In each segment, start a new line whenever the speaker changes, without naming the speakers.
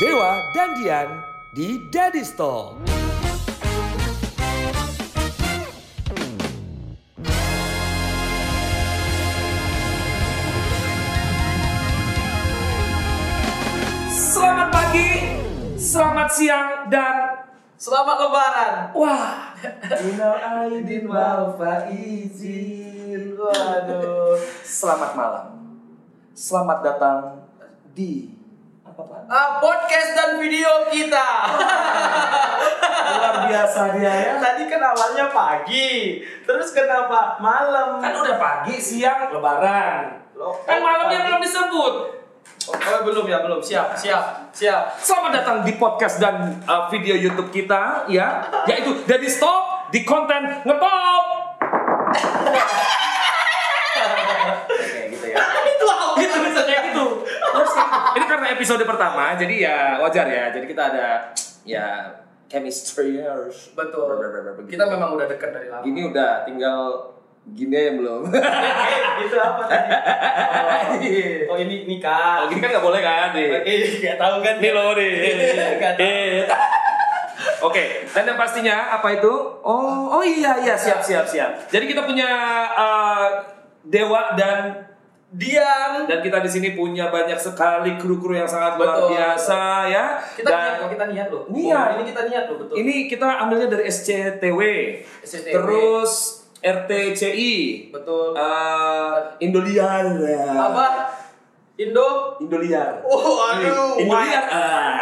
Dewa dan Dian di Daddy Talk.
Selamat pagi, selamat siang, dan
Selamat lebaran.
wah,
Minal aidin wal faizin. Waduh. Selamat malam. Selamat datang di apa Pak? Ah, podcast dan video kita.
luar biasa dia ya
Tadi kan awalnya pagi, terus kenapa malam? Eh,
kan udah pagi, siang, lebaran.
Loh,
Kan malamnya
Oh, pagi.
belum disebut.
Oh, oh, belum ya, belum. Siap, siap, siap.
Selamat datang di podcast dan uh, video YouTube kita, ya, yaitu Daddy Stop di konten ngetop.
kayak gitu ya
Itu aku gitu misalnya gitu.
Terus ini karena episode pertama, jadi ya wajar ya. Jadi kita ada
ya chemistry harus
Betul. Kita memang udah dekat dari lama.
gini udah tinggal gini aja yang belum
Eh, itu apa tadi? Oh, oh ini nikah.
kalau gini kan nggak boleh kan, deh.
Eh, nggak tahu kan?
Ini loh deh.
Nggak tahu.
Eh. Oke, dan yang pastinya apa itu? Oh, oh iya iya siap siap siap. Jadi kita punya eh, dewa dan
Dian.
dan kita di sini punya banyak sekali kru-kru yang sangat luar
Betul.
biasa ya.
Kita
dan
niat loh, kita niat loh.
Niat.
Oh, Ini kita niat loh, betul.
ini kita ambilnya dari SCTW,
SCTW.
terus RTCI,
betul.
eh, Indoliar,
apa? Indo.
Indoliar. Iya,
Oh, aduh.
Indoliar.
wah.
ah.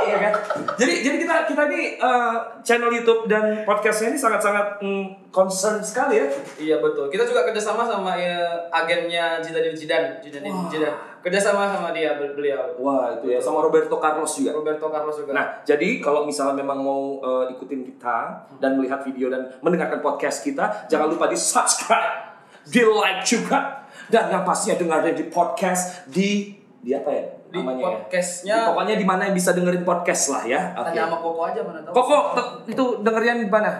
iya kan
Jadi jadi kita kita ini eh, channel YouTube dan podcastnya ini sangat-sangat mm, concern sekali ya.
Iya betul. Kita juga kerjasama sama ya, agennya Jidan Jidan, Jidan Jidan. Kerjasama sama dia bel- beliau.
Wah itu ya sama Roberto Carlos juga.
Roberto Carlos juga.
Nah jadi kalau misalnya memang mau eh, ikutin kita dan melihat video dan mendengarkan podcast kita, jangan lupa di subscribe, di like juga, dan yang pastinya dengerin di podcast di di apa ya
di
namanya ya?
podcastnya
Di- pokoknya di mana yang bisa dengerin podcast lah ya. Oke.
tanya sama Koko aja mana tahu.
Koko te- itu dengerin di mana?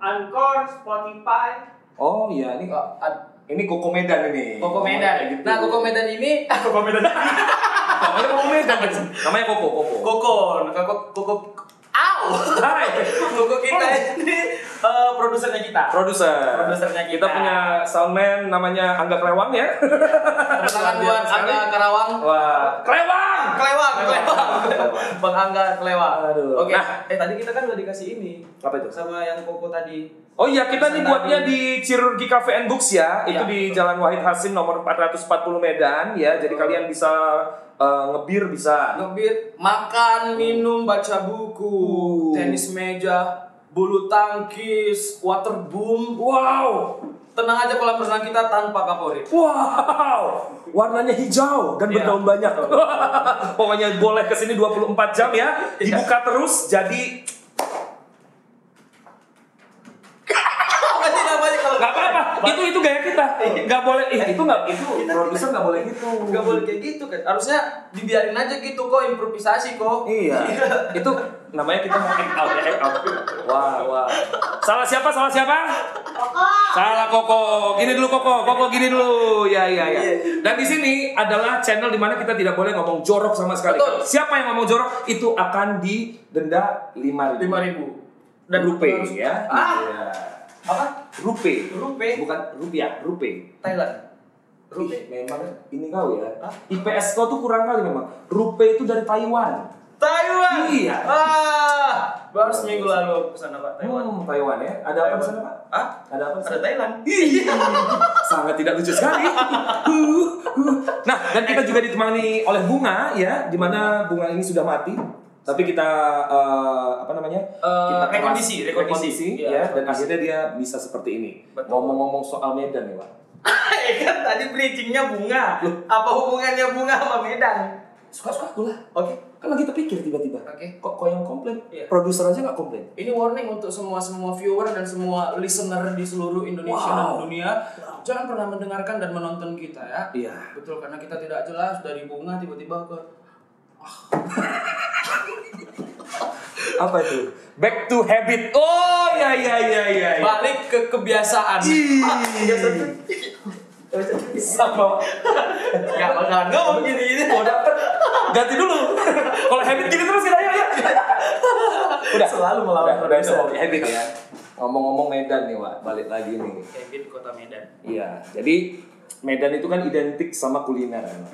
Anchor, Spotify.
Oh iya ini
Oh, ad-
ini Koko Medan ini. gitu.
Koko Medan. Nah, Koko Medan ini Koko Medan.
Namanya Koko Medan. Namanya Koko Koko.
Koko, nah, Koko, Koko, Au!
Hai.
Koko kita ini eh, produsernya kita.
Produser.
Produsernya kita.
punya soundman namanya Angga Klewang ya.
Tangan Oh. buat Angga Karawang.
Wah, Klewang.
Kelewang, kelewang. Bang Angga kelewang.
Aduh.
Oke.
Nah.
Eh tadi kita kan udah dikasih ini
Apa itu?
sama yang Koko tadi.
Oh iya, kita nih
Pesan
buatnya
tadi.
di Cirurgi Cafe and Books ya. Itu
Iya,
di
betul.
Jalan Wahid Hasim nomor 440 Medan ya.
Oh.
Jadi kalian bisa eh, ngebir bisa.
Ngebir, makan, minum, baca buku,
Uh.
tenis meja, bulu tangkis, waterboom.
Wow.
Tenang aja kolam renang kita tanpa kaporit.
Wow. Warnanya hijau dan
Iya.
berdaun banyak. Pokoknya boleh ke sini 24 jam ya.
Iya.
Dibuka terus jadi
Apa sih namanya kalau
Gak apa-apa, itu itu gaya kita.
Iya.
Gak boleh, ih, itu gak, itu produser gak boleh gitu.
Gak boleh kayak gitu kan. Harusnya dibiarin aja gitu kok improvisasi kok.
Iya, itu namanya kita mau act out, ya, act out. Wah, wah. Salah siapa, salah siapa? Salah Koko. Gini dulu Koko, Koko gini dulu. Ya, ya,
Iya,
ya. Dan di sini adalah channel dimana kita tidak boleh ngomong jorok sama sekali.
Betul.
Siapa yang ngomong jorok itu akan didenda lima ribu.
5000 dan
rupiah
harus-
ya.
Ah,
Iya.
apa?
Rupiah.
Rupiah.
Bukan rupiah, rupiah.
Thailand.
Rupiah
Rupiah.
memang ini kau ya.
Iya. Hah?
IPS kau tuh kurang kali memang. Rupiah itu dari Taiwan.
Taiwan.
Iya.
Ah, baru seminggu lalu aku ke sana Pak Taiwan.
Hmm, Taiwan ya. Ada apa di sana, Pak?
Ah,
Ada apa? di sana?
ada Thailand.
Ih, Sangat tidak lucu sekali. Huh, huh. nah, dan kita juga ditemani oleh bunga ya, di mana bunga ini sudah mati. Tapi kita eh, apa namanya?
Eh,
kita keras-
rekondisi, rekondisi.
rekondisi,
Iya,
ya, dan akhirnya dia bisa seperti ini.
Betul.
Ngomong-ngomong soal Medan ya, Pak.
Eh kan tadi bridgingnya bunga. Apa hubungannya bunga sama Medan?
Suka-suka aku lah.
Oke.
Kan lagi terpikir tiba-tiba.
Oke.
Kok kok yang komplain?
Iya.
Produser aja nggak komplain.
Ini warning untuk semua semua viewer dan semua listener di seluruh Indonesia
Wow.
dan dunia. Jangan pernah mendengarkan dan menonton kita ya.
Iya.
Betul karena kita tidak jelas dari bunga tiba-tiba ke
Apa itu? Back to habit. Oh, ya ya ya ya. ya.
balik ke kebiasaan.
Ih.
Ah, kebiasaan.
sama
Gak bakalan ngomong gini-gini.
Mau dapet ganti dulu. Kalau habit gini terus kita ayo ayo.
Udah.
Selalu melawan
Udah, udah itu
biasa.
hobi habit ya. Ngomong-ngomong Medan nih, Wak. Balik lagi nih.
Kevin Kota Medan.
Iya.
Jadi Medan itu kan identik sama kuliner kan.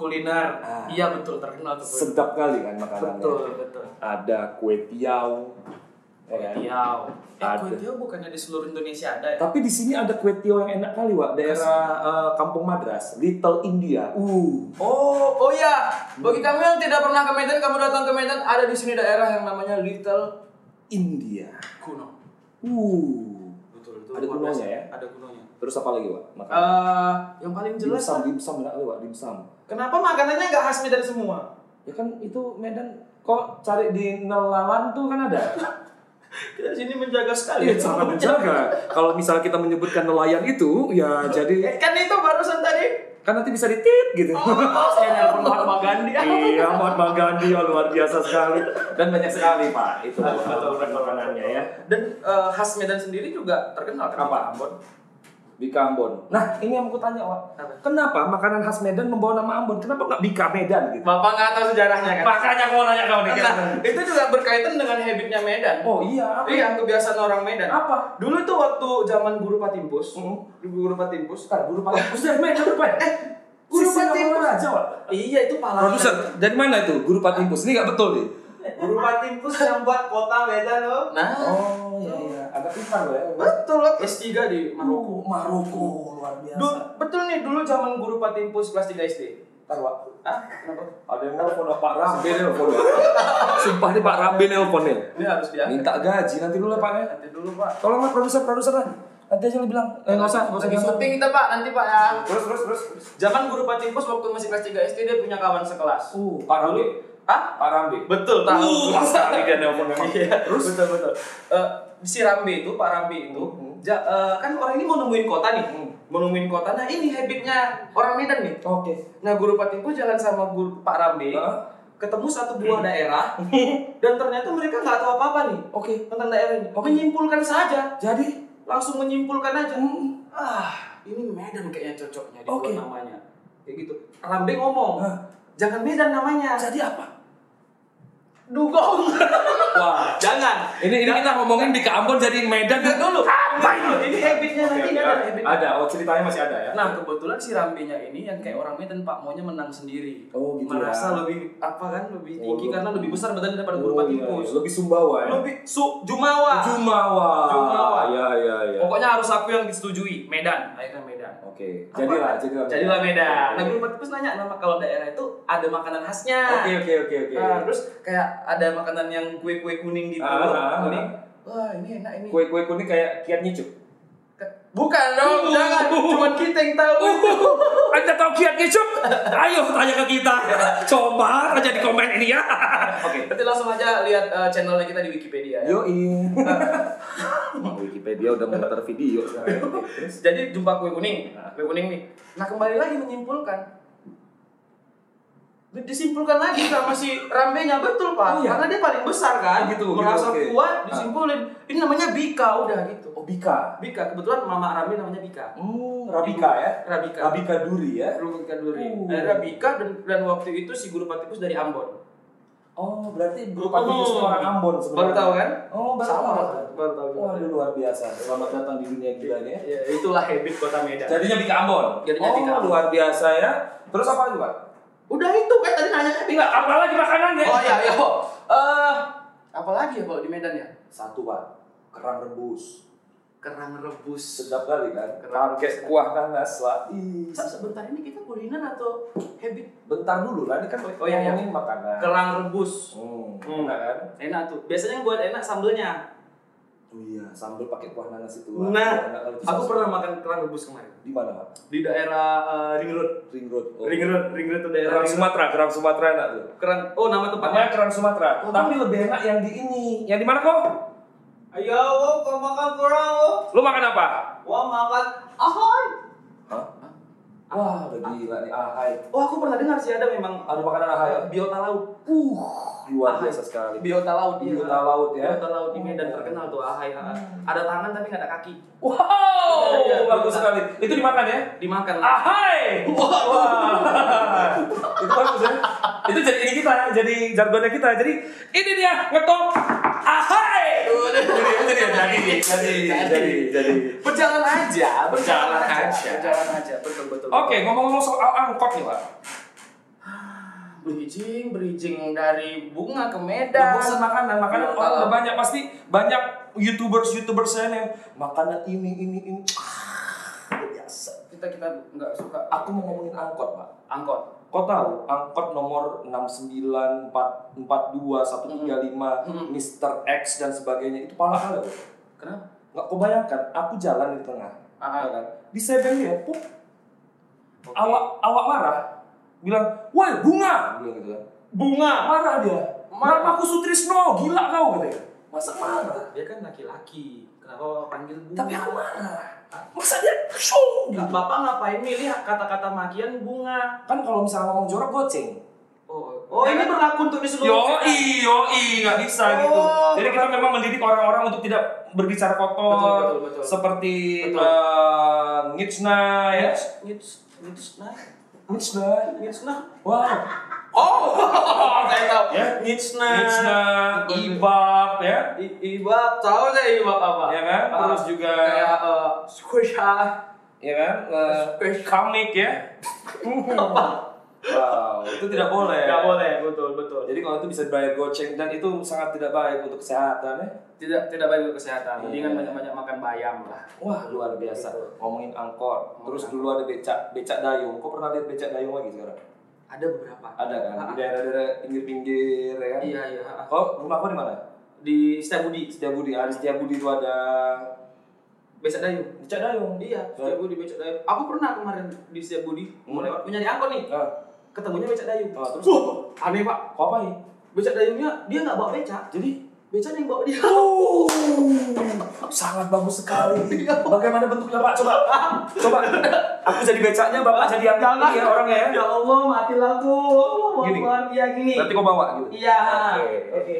Kuliner.
Ah.
Iya betul terkenal tuh. kuliner.
Sedap kali kan makanannya.
Betul, betul.
Ada kue tiaw. ya kan?
Tiau. Eh,
Ada.
kue tiau bukannya di seluruh Indonesia ada ya?
Tapi di sini ada kue tiaw yang enak kali, Wak. Daerah eh, Kampung Madras, Little India. Uh.
Oh, oh ya. Bagi kamu yang tidak pernah ke Medan, kamu datang ke Medan, ada di sini daerah yang namanya Little
India.
Kuno.
Uh.
Betul,
Ada kunonya ya?
Ada kunonya.
Terus apa lagi, Wak? Makan.
Eh, yang paling jelas kan?
dimsum, dimsum enak kali, Wak. Dimsum.
Kenapa makanannya nggak khas Medan semua?
Ya kan itu Medan kok cari di nelawan tuh kan ada.
kita di sini menjaga sekali.
Iya, sangat menjaga. Kalau misal kita menyebutkan nelayan itu, ya jadi
Eh, kan itu barusan tadi.
kan nanti bisa ditit gitu.
Oh, saya nelpon Mahatma Gandhi.
iya, Mahatma Gandhi ya, luar biasa sekali dan banyak sekali Pak itu makanannya ya
Dan eh, khas Medan sendiri juga terkenal kan?
Apa?
Ambon.
Bika Ambon. Nah ini yang aku tanya Wak,
Apa?
kenapa makanan khas Medan membawa nama Ambon? Kenapa nggak Bika Medan gitu?
Bapak nggak tahu sejarahnya kan?
Makanya aku mau nanya kamu nih.
Nah, itu juga berkaitan dengan habitnya Medan.
Oh iya, apa?
Iya, kebiasaan orang Medan.
Apa?
Dulu itu waktu zaman guru Patimpus, guru Patimpus.
Bentar, guru Pak. Ustaz Medan apa? Eh,
Guru
Sisi nama
Patimpus.
raja, Wak.
Iya, itu pahlawan.
Produser, dari mana itu guru Patimpus? Ini nggak betul nih.
Guru Patimpus yang buat kota Medan loh.
Nah,
Oh iya iya, agak pintar loh ya.
betul loh S3 di Maroko.
Maroko luar
Dulu, betul nih dulu zaman guru Patimpus kelas 3 SD.
Bentar, Wak.
Ah, kenapa?
Ada yang nelfon Wak. Pak Rambe nelfon. ya? Wak. Sumpah nih Pak Rambe nelfon nih.
Ini harus diangkat.
Minta gaji nanti dulu lah Pak ya.
Nanti dulu, Pak.
Tolonglah produser produser lah. Nanti aja lu bilang. Eh nggak usah, nggak usah
Lagi
bilang.
syuting kita, Pak. Nanti, Pak ya.
Terus terus terus.
Zaman guru Patimpus waktu masih kelas 3 SD dia punya kawan sekelas.
Uh, Pak Rambe.
Hah?
Pak Rambe.
Betul, tahu.
sekali dia nelfon memang.
Iya, terus betul betul. Eh, si Rambi itu, Pak Rambi itu,
Uh,
ja- eh, kan orang ini mau nemuin kota nih,
Hmm.
mau nemuin kota. Nah ini habitnya orang Medan nih.
Oke.
Nah guru Patiku jalan sama guru Pak Rambi,
Hah? Hmm.
ketemu satu buah daerah, dan ternyata mereka nggak tahu apa apa nih
Oke.
tentang daerah ini. Menyimpulkan saja,
Jadi
langsung menyimpulkan aja. Ah, ini Medan kayaknya cocoknya
Hmm.
dibuat
Oke.
namanya. Kayak gitu. Rambi ngomong,
Hah?
jangan Medan namanya,
jadi apa?
dugong.
Wah.
jangan.
Ini ini kita ngomongin di Ambon jadi Medan
Enggak dulu.
Apa ini?
Ini habitnya
Oke,
nanti ini ada
oke.
habitnya.
Ada, oh ceritanya masih ada ya.
Nah, kebetulan si Rambinya ini yang kayak orang Medan Pak maunya menang sendiri.
Oh, gitu
Merasa
ya.
lebih apa kan lebih
Oh,
tinggi
lebih-
karena lebih besar badan daripada
Oh,
guru
iya,
Patimpus.
iya. Lebih Sumbawa ya.
Lebih su Jumawa.
Jumawa.
Jumawa.
Ya ya ya.
Pokoknya harus aku yang disetujui. Medan, akhirnya Medan.
Oke.
Apa?
Jadilah, jadilah.
Jadilah Medan. Nah,
Oke.
guru Patimpus nanya nama kalau daerah itu ada makanan khasnya.
Oke oke oke oke.
Nah, terus kayak ada makanan yang kue-kue kuning gitu.
Ah, ah, ah.
kuning. Wah, ini enak ini.
Kue-kue kuning kayak kiat nyicuk.
Bukan
Uh.
dong, jangan. Cuman kita yang tahu.
Anda tahu kiat nyicuk? Ayo tanya ke kita. Coba aja di komen ini ya. Oke.
Nanti langsung aja lihat eh, channelnya kita di Wikipedia ya.
Yo Wikipedia udah memutar video sekarang. Terus
Jadi jumpa kue kuning, kue kuning nih. Nah kembali lagi menyimpulkan. Di- Disimpulkan lagi sama si rambenya betul
Oh,
pak,
iya.
karena dia paling besar
Oh,
kan,
gitu, gitu,
merasa
oke. Ah.
kuat, disimpulin. Ini namanya Bika udah gitu.
Obika.
Nah. Bika kebetulan mama Rambe namanya Bika.
Hmm, Rabika ya.
Rabika. Oh.
Rabika Duri ya.
Rumika Duri.
Uh.
Akhirnya Bika Nah, dan, dan waktu itu si guru patikus dari Ambon.
Oh, berarti
Guru
Bupati itu orang Ambon
Baru
sebenarnya.
tahu kan?
Oh, baru
Sama,
tahu.
baru tahu.
Wah, ini luar biasa. Selamat datang di dunia gila nih ya.
Ya, itulah habit kota Medan.
Jadinya Bika Ambon.
Jadinya
oh,
Bika Ambon.
luar biasa ya. Terus apa lagi, Pak?
Udah itu kan tadi nanya
Enggak, apalagi makanannya?
Oh iya iya. Eh apalagi ya kalau di Medan ya?
Satu, Pak. Kerang rebus.
Kerang rebus.
Sedap kali kan?
Kerang
Pakai kuah nanas, Pak. Ih,
Sa- Sebentar ini kita kuliner atau habit?
Bentar dulu lah, ini kan
Oh, iya, iya.
ngomongin makanan.
Kerang rebus.
Hmm,
Hmm.
enak kan?
Enak tuh. Biasanya yang buat enak sambelnya.
Oh iya, sambal pakai kuah nanas itu. Pak. Enak
Nah,
kalau
aku
disaus.
pernah makan kerang rebus kemarin
di mana, Pak?
di daerah eh, Ring Road.
Ring Road. Oh.
Ring Road, Ring Road tuh daerah
Kerang
Ring Road.
Sumatera, kerang Sumatera enak tuh.
Kerang. Oh,
Namanya
nama tempatnya.
kerang Sumatera,
Oh.
tapi lebih enak yang di ini. Yang di mana kok?
Ayo, wo, kau makan kurang wo.
Lu makan apa?
Wah makan ahoy.
Hah? Wah, udah gila nih ahai.
Oh, aku pernah dengar sih ada memang
Ada makanan ahai.
eh, biota laut.
Uh, luar biasa sekali.
biota laut iya.
Biota laut ya.
biota laut di Medan terkenal tuh ahai ha. ada tangan tapi nggak ada kaki
Wow,
Iya, iya,
bagus
iya.
sekali. Itu dimakan ya?
dimakan lah
Ahai! Wah. itu bagus ya. Itu jadi ini kita, jadi jargonnya kita. Jadi ini dia ngetop. Ahai! Jadi jadi jadi jadi jadi jadi.
berjalan aja
Berjalan aja. Oh.
berjalan aja betul betul
Oke, ngomong-ngomong soal angkot nih, Pak.
bridging bridging dari bunga ke
Udah
Medan
bosan makanan, makanan
Iya,
orang
tahu.
udah banyak pasti banyak youtubers youtubers yang makanan ini ini ini. Ah, luar biasa.
kita kita nggak suka
Aku mau ngomongin angkot, Pak.
angkot
Kau tahu angkot nomor 69, 4, 42, 135,
Mm.
Mr. X dan sebagainya itu pala kali.
kenapa
Nggak kebayangkan, aku jalan di tengah.
Ah.
ya kan? Di sebeng dia, pup,
Oke.
awak awak marah, bilang, woi bunga, bilang gitu kan.
bunga
Marah dia, marah aku Sutrisno, gila kau katanya. Masa marah?
Dia kan laki-laki. Kenapa panggil bunga?
Tapi aku marah. Masa dia, shoo, gitu.
Bapak ngapain milih kata-kata makian bunga?
Kan kalau misalnya ngomong jorok goceng.
Oh, oh ini
iya.
berlaku untuk di seluruh
Yoi, yoi, nggak
Oh,
bisa gitu. Jadi kita
betul.
memang mendidik orang-orang untuk tidak berbicara kotor,
Betul, betul, betul.
seperti
Betul.
eh, Nitsna ya.
Nits, nits, nah,
Nitsna,
nits, nah.
wow.
oh saya tahu
Ya. nah.
Nitsna.
Nitsna, Ibab ya,
nah. I- Ibab, tahu saya Ibab apa?
ya kan.
Ah,
Terus juga,
kayak eh, squish ah.
ya kan, eh, Kamik ya. wow, itu tidak boleh.
Nggak boleh, betul betul.
Jadi kalau itu bisa dibayar goceng dan itu sangat tidak baik untuk kesehatan ya.
tidak tidak baik untuk kesehatan
Iya.
mendingan banyak banyak makan bayam lah
Wah luar biasa.
Gitu.
Ngomongin angkot.
Ngomongin
Terus
angkot.
dulu ada becak, becak dayung. Kok pernah lihat becak dayung lagi sekarang?
ada beberapa
Ada kan?
Ah,
Di daerah-daerah pinggir-pinggir ya kan?
iya iya ah.
Kok rumah kau di mana?
di Setiabudi
Setiabudi. Ada Setiabudi itu ada
becak dayu
becak dayung.
iya
Soalnya-
Setiabudi becak dayu aku pernah kemarin di Setiabudi mau
Hmm.
lewat punya angkot nih
Ah,
ketemunya becak dayu
ah, terus
Wah, aneh pak
kau apa ya?
becak dayunya dia nggak bawa becak
Jadi
becak yang bawa dia
Oh, sangat bagus sekali. Bagaimana bentuknya Pak? Coba, coba. Aku jadi becaknya, bapak jadi yang ini ya orangnya ya.
Ya Allah, Oh, mati lagu. Mau
Gini.
keluar dia Iya, gini.
Nanti kau bawa gitu.
Iya.
Oke.
Oke.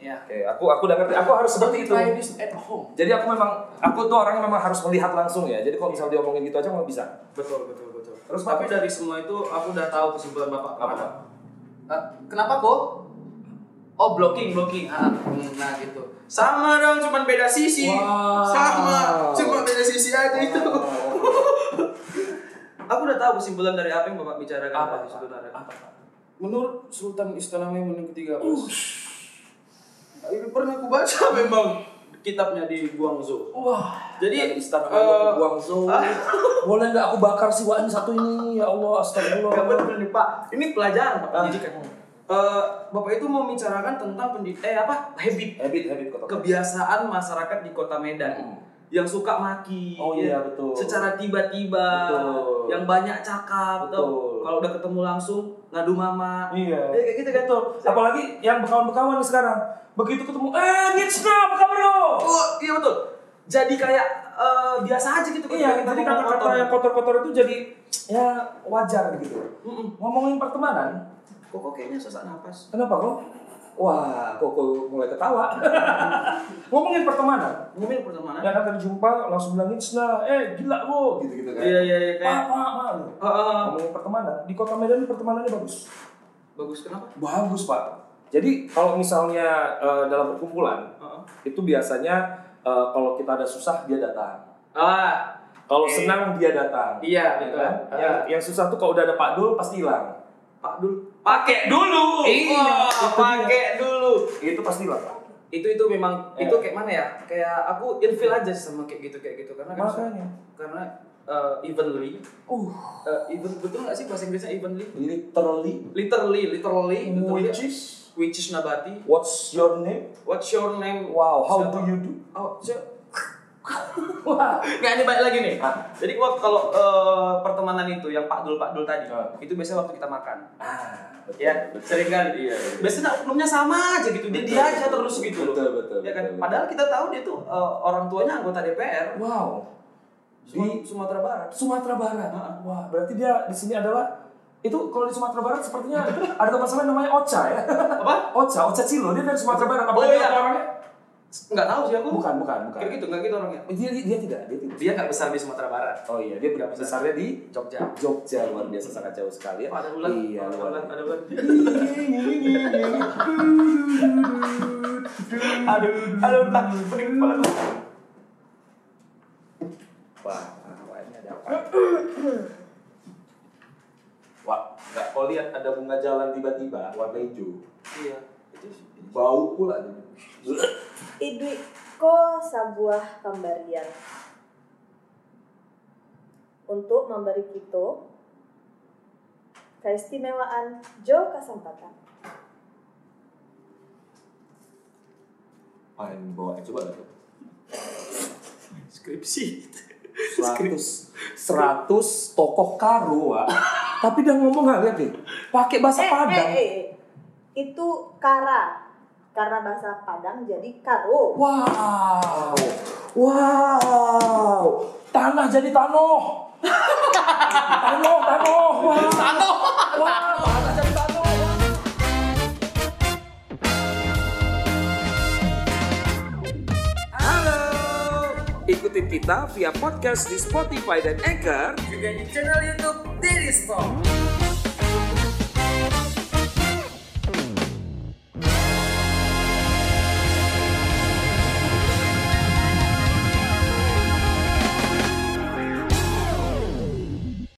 ya
Oke, aku aku udah ngerti. Aku harus seperti itu.
try this at home
Jadi aku memang aku tuh orangnya memang harus melihat langsung ya. Jadi kalau misalnya diomongin gitu aja nggak bisa.
betul betul betul
Terus,
terus tapi
Pak?
dari semua itu aku udah tahu kesimpulan bapak
Apa?
kemana. Ah, kenapa kok Oh blocking, blocking. Ah, hmm, nah gitu. Sama dong, cuman beda sisi.
Wow.
Sama, cuma beda sisi aja itu. Aku udah tahu kesimpulan dari apa yang bapak bicarakan
Apa,
tadi
Pak?
sebenarnya.
Apa, Uh, Pak?
Menurut Sultan Istana Maimun yang ketiga. Ush. Ini pernah aku baca memang kitabnya di Guangzhou.
Wah.
Jadi,
Dari istana
eh,
uh,
ah.
Guangzhou. Boleh nggak aku bakar siwaan satu ini? Ya Allah,
Gak
astagfirullah.
bener nih Pak, ini pelajaran Pak
Ah.
pendidikan. Eh, Bapak itu membicarakan tentang pendid eh apa habit
Habit, habit kotor.
kebiasaan masyarakat di kota Medan
Hmm.
yang suka maki,
Oh iya, betul.
secara tiba-tiba,
Betul.
yang banyak cakap,
Betul.
atau kalau udah ketemu langsung ngadu mama, Ya,
Iya.
kayak gitu kan tuh.
Apalagi yang bekawan-bekawan nih sekarang. Begitu ketemu, eh, Nitsna, apa kabar lo?
Oh, iya betul. Jadi kayak eh, biasa aja gitu ketika
Iya, jadi
ngomong
kata-kata
kotor.
yang kotor-kotor itu jadi ya wajar gitu.
Mm-mm.
Ngomongin pertemanan,
Kok kok kayaknya sesak napas.
Kenapa kok? Wah, kok, kok mulai ketawa. Ngomongin pertemanan.
Ngomongin pertemanan.
Ya kan tadi jumpa langsung bilang Nitsna, eh gila lo gitu-gitu kan.
Iya iya iya
Pak,
kayak.
pak, pak.
Eh, eh,
Ngomongin pertemanan, di kota Medan pertemanannya bagus.
bagus kenapa?
Bagus, Pak. Jadi kalau misalnya eh, dalam perkumpulan,
Heeh.
itu biasanya eh, kalau kita ada susah dia datang.
Ah,
Kalau
Oke.
senang dia datang. Ya
Iya, betul.
kan?
Ah.
Yang, yang susah tuh kalau udah ada Pak Dul pasti hilang.
Pak dulu. Pakai dulu.
Iya, itu
Wah, pakai dulu.
Itu pasti hilang, Pak.
Itu itu memang
Iya.
itu kayak mana ya? Kayak aku infil aja sama kayak gitu kayak gitu karena kan-
Makanya.
karena uh, evenly
Uh,
uh, even betul nggak sih bahasa Inggrisnya evenly?
literally.
Literally, literally, literally.
Which is
Which is nabati.
What's your name?
What's your name?
Wow, how
Siapa?
do you do?
Oh, siapa?
Wah.
Nggak, ini balik lagi nih.
Ah.
Jadi waktu kalau eh, pertemanan itu yang Pak Dul Pak Dul tadi,
Ah.
itu biasanya waktu kita makan.
Ah, betul.
Ya, sering kali.
Iya.
Biasanya oknumnya sama aja gitu, dia
Betul,
dia aja
betul.
terus gitu loh.
Betul, betul,
Ya kan?
betul, betul.
Padahal kita tahu dia tuh eh, orang tuanya anggota DPR
Wow.
Sum-
Di
Sumatera Barat.
Sumatera Barat.
Ah.
Wah, berarti dia di sini adalah itu kalau di Sumatera Barat sepertinya ada tempat sampai namanya Ocha ya.
Apa?
Ocha, Ocha Cilo, dia dari Sumatera Barat. Apa
Oh,
dia
iya.
orangnya?
Nggak tahu sih aku.
Bukan, bukan, bukan.
Kayak gitu, nggak gitu orangnya.
Dia, dia, dia tidak, dia tidak.
Dia nggak besar di Sumatera Barat.
Oh iya, dia tidak besarnya di
Jogja.
Jogja luar biasa sangat jauh sekali.
Oh, Ada ular.
Iya,
ada
luar
ular.
biasa. Iya,
Ada
aduh,
ular.
aduh, tak pening banget. Wah, wah, ini ada apa? Wah, nggak kau lihat ada bunga jalan tiba-tiba warna hijau,
Iya. Itu sih.
bau pula tuh.
Idwiko sabuah pemberian untuk memberi kita keistimewaan jo kesempatan.
Ah, yang bawa coba lah tuh.
Skripsi.
Seratus, seratus tokoh karu, Wak. Tapi udah ngomong nggak lihat nih, pakai bahasa Padang.
eh, eh. Itu kara. Karena bahasa Padang jadi karo.
Wow, wow, tanah jadi tanoh. tanoh, tanoh, wow. Tanoh, wow. tanah jadi tanoh.
Halo, ikutin kita via podcast di Spotify dan Anchor
Juga di channel YouTube Diri Store.